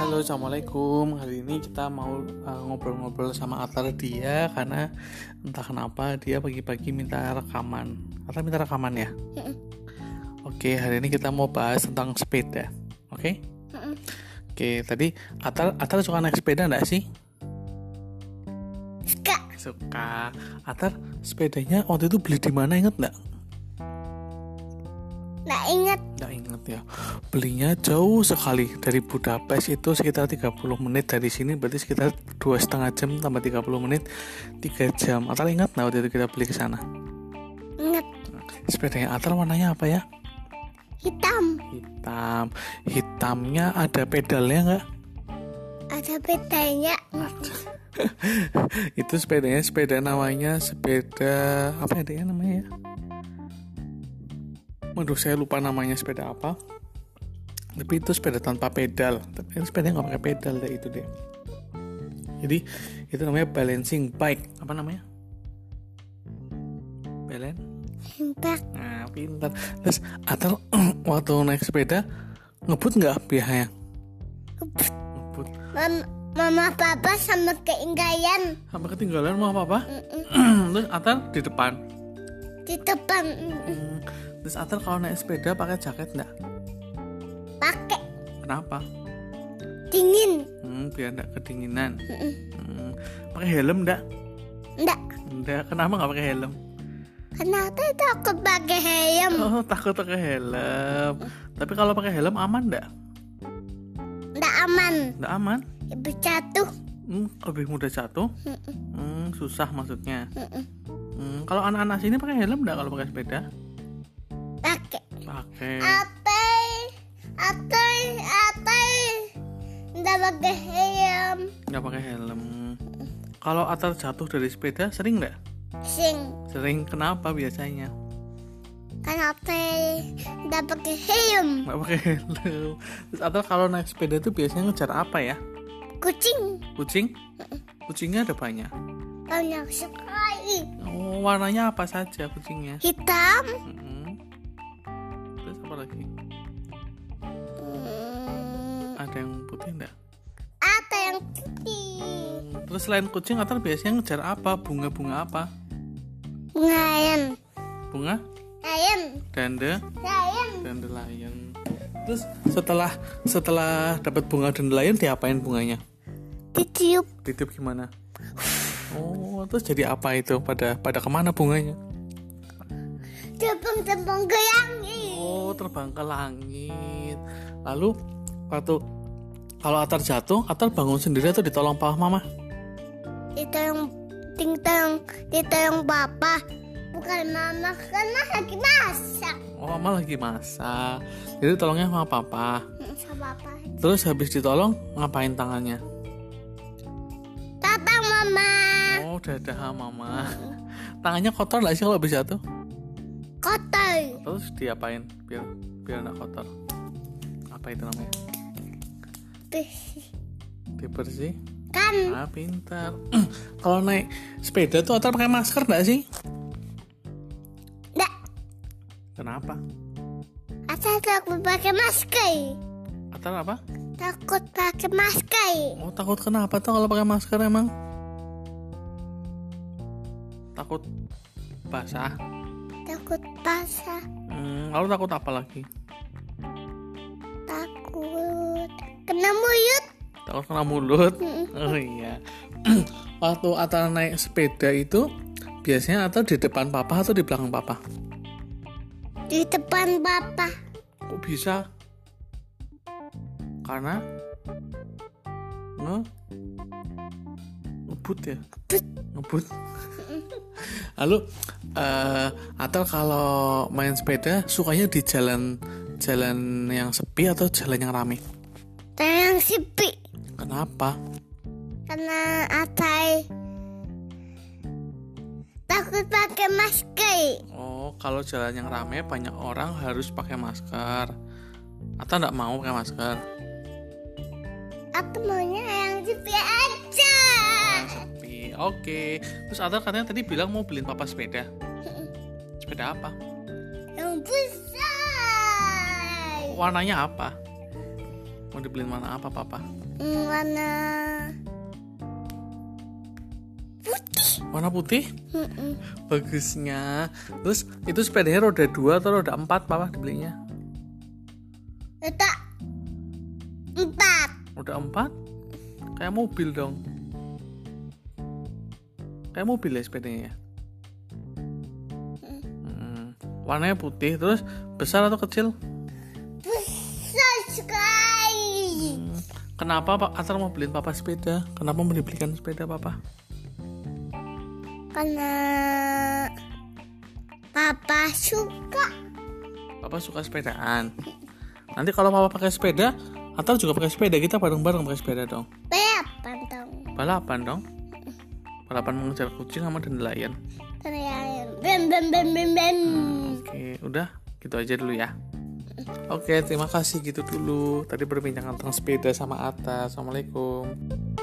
Halo, assalamualaikum. Hari ini kita mau uh, ngobrol-ngobrol sama Atar dia karena entah kenapa dia pagi-pagi minta rekaman. Atar minta rekaman ya. Mm-mm. Oke, hari ini kita mau bahas tentang sepeda. Oke. Mm-mm. Oke, tadi Atar Atar suka naik sepeda enggak sih? Suka Suka. Atar sepedanya waktu itu beli di mana inget nggak? Nggak inget Nggak inget ya. Belinya jauh sekali dari Budapest itu sekitar 30 menit dari sini berarti sekitar dua setengah jam tambah 30 menit 3 jam. Atar ingat nggak waktu itu kita beli ke sana? Inget Sepedanya Atar warnanya apa ya? hitam Hitam. Hitamnya ada pedalnya nggak? Ada bedanya Itu sepedanya sepeda namanya sepeda apa ya dia namanya ya? Menurut saya lupa namanya sepeda apa. Tapi itu sepeda tanpa pedal. Tapi itu sepeda nggak pakai pedal deh itu deh. Jadi itu namanya balancing bike. Apa namanya? Balen? Himpak Nah, pintar. Terus atau waktu naik sepeda ngebut nggak biasanya? Ngebut. Mam Mama papa sama keindahan Sampai ketinggalan mau apa apa? Mm-mm. Terus Atar di depan. Di depan Mm-mm. Hmm, Terus Atar kalau naik sepeda pakai jaket nggak? Pakai Kenapa? dingin Hmm, biar nggak kedinginan. Mm-mm. Hmm, pakai helm nggak? Nggak Nggak. Kenapa nggak pakai helm? Kenapa itu aku pakai helm Oh, takut pakai helm. Tapi kalau pakai helm aman nggak? Nggak aman Nggak aman. Ibu jatuh Hmm, lebih mudah jatuh. Mm-mm. Hmm, susah maksudnya. Mm-mm. Hmm, kalau anak-anak sini pakai helm nggak kalau pakai sepeda? Pakai Pakai. Apa Apa Apa Nggak pakai helm Nggak pakai helm. Kalau Atar jatuh dari sepeda sering nggak? Sing Sering. Kenapa biasanya? Kenapa Nggak pakai helm nggak pakai helm terus atau kalau naik sepeda itu biasanya ngejar apa ya Kucing kucing kucingnya ada banyak banyak sekali oh, warnanya apa saja kucingnya hitam Mm-mm. terus apa lagi hmm, ada yang putih enggak ada yang putih terus selain kucing atau biasanya ngejar apa bunga-bunga apa ngayen bunga ngayen danda ngayen dandelion terus setelah setelah dapat bunga dandelion diapain bunganya ditiup ditiup gimana oh terus jadi apa itu pada pada kemana bunganya tepung-tepung ke langit Oh, terbang ke langit. Lalu waktu kalau Atar jatuh, Atar bangun sendiri atau ditolong papa mama? itu yang ting tong itu yang papa bukan mama karena lagi masak Oh, mama lagi masak. Jadi tolongnya sama papa. Hmm, sama papa Terus habis ditolong ngapain tangannya? papa mama Oh, dadah mama. Tangannya kotor nggak sih kalau habis jatuh? kotor Terus diapain biar biar nggak kotor? Apa itu namanya? Dibersih. kan Ah, pintar. kalau naik sepeda tuh Atar pakai masker nggak sih? nggak Kenapa? asal takut pakai masker Atar apa? takut pakai masker Oh takut kenapa tuh kalau pakai masker emang? Takut basah. takut basah Hmm, lalu takut apa lagi? takut kena muyut Takut kena mulut. Mm-mm. Oh iya. Waktu Atar naik sepeda itu biasanya atau di depan papa atau di belakang papa? di depan bapak Kok bisa? Karena nge ngebut ya ngebut lalu eh atau kalau main sepeda sukanya di jalan jalan yang sepi atau jalan yang rame dan yang sepi kenapa karena atai takut pakai masker oh kalau jalan yang rame banyak orang harus pakai masker atau nggak mau pakai masker aku maunya yang sepi aja sepi oke terus Atar katanya tadi bilang mau beliin papa sepeda sepeda apa yang besar warnanya apa mau dibeliin warna apa papa mm, warna putih. Hmm, warna putih Mm-mm. bagusnya terus itu sepedanya roda dua atau roda empat papa dibelinya Letak empat. roda empat kayak mobil dong kayak mobil ya sepedanya ya Hmm. warnanya putih terus besar atau kecil Besar sekali. kenapa pak Atar mau beliin papa sepeda kenapa mau dibelikan sepeda papa Karena papa suka. papa suka sepedaan nanti kalau papa pakai sepeda Atar juga pakai sepeda kita bareng-bareng pakai sepeda dong Berapa dong? balapan dong balapan mengejar kucing sama dandelion Terlihat. Bem bem bem bem bem. Oke, udah gitu aja dulu ya. Oke, terima kasih gitu dulu. Tadi perbincangan tentang sepeda sama Atta. Assalamualaikum.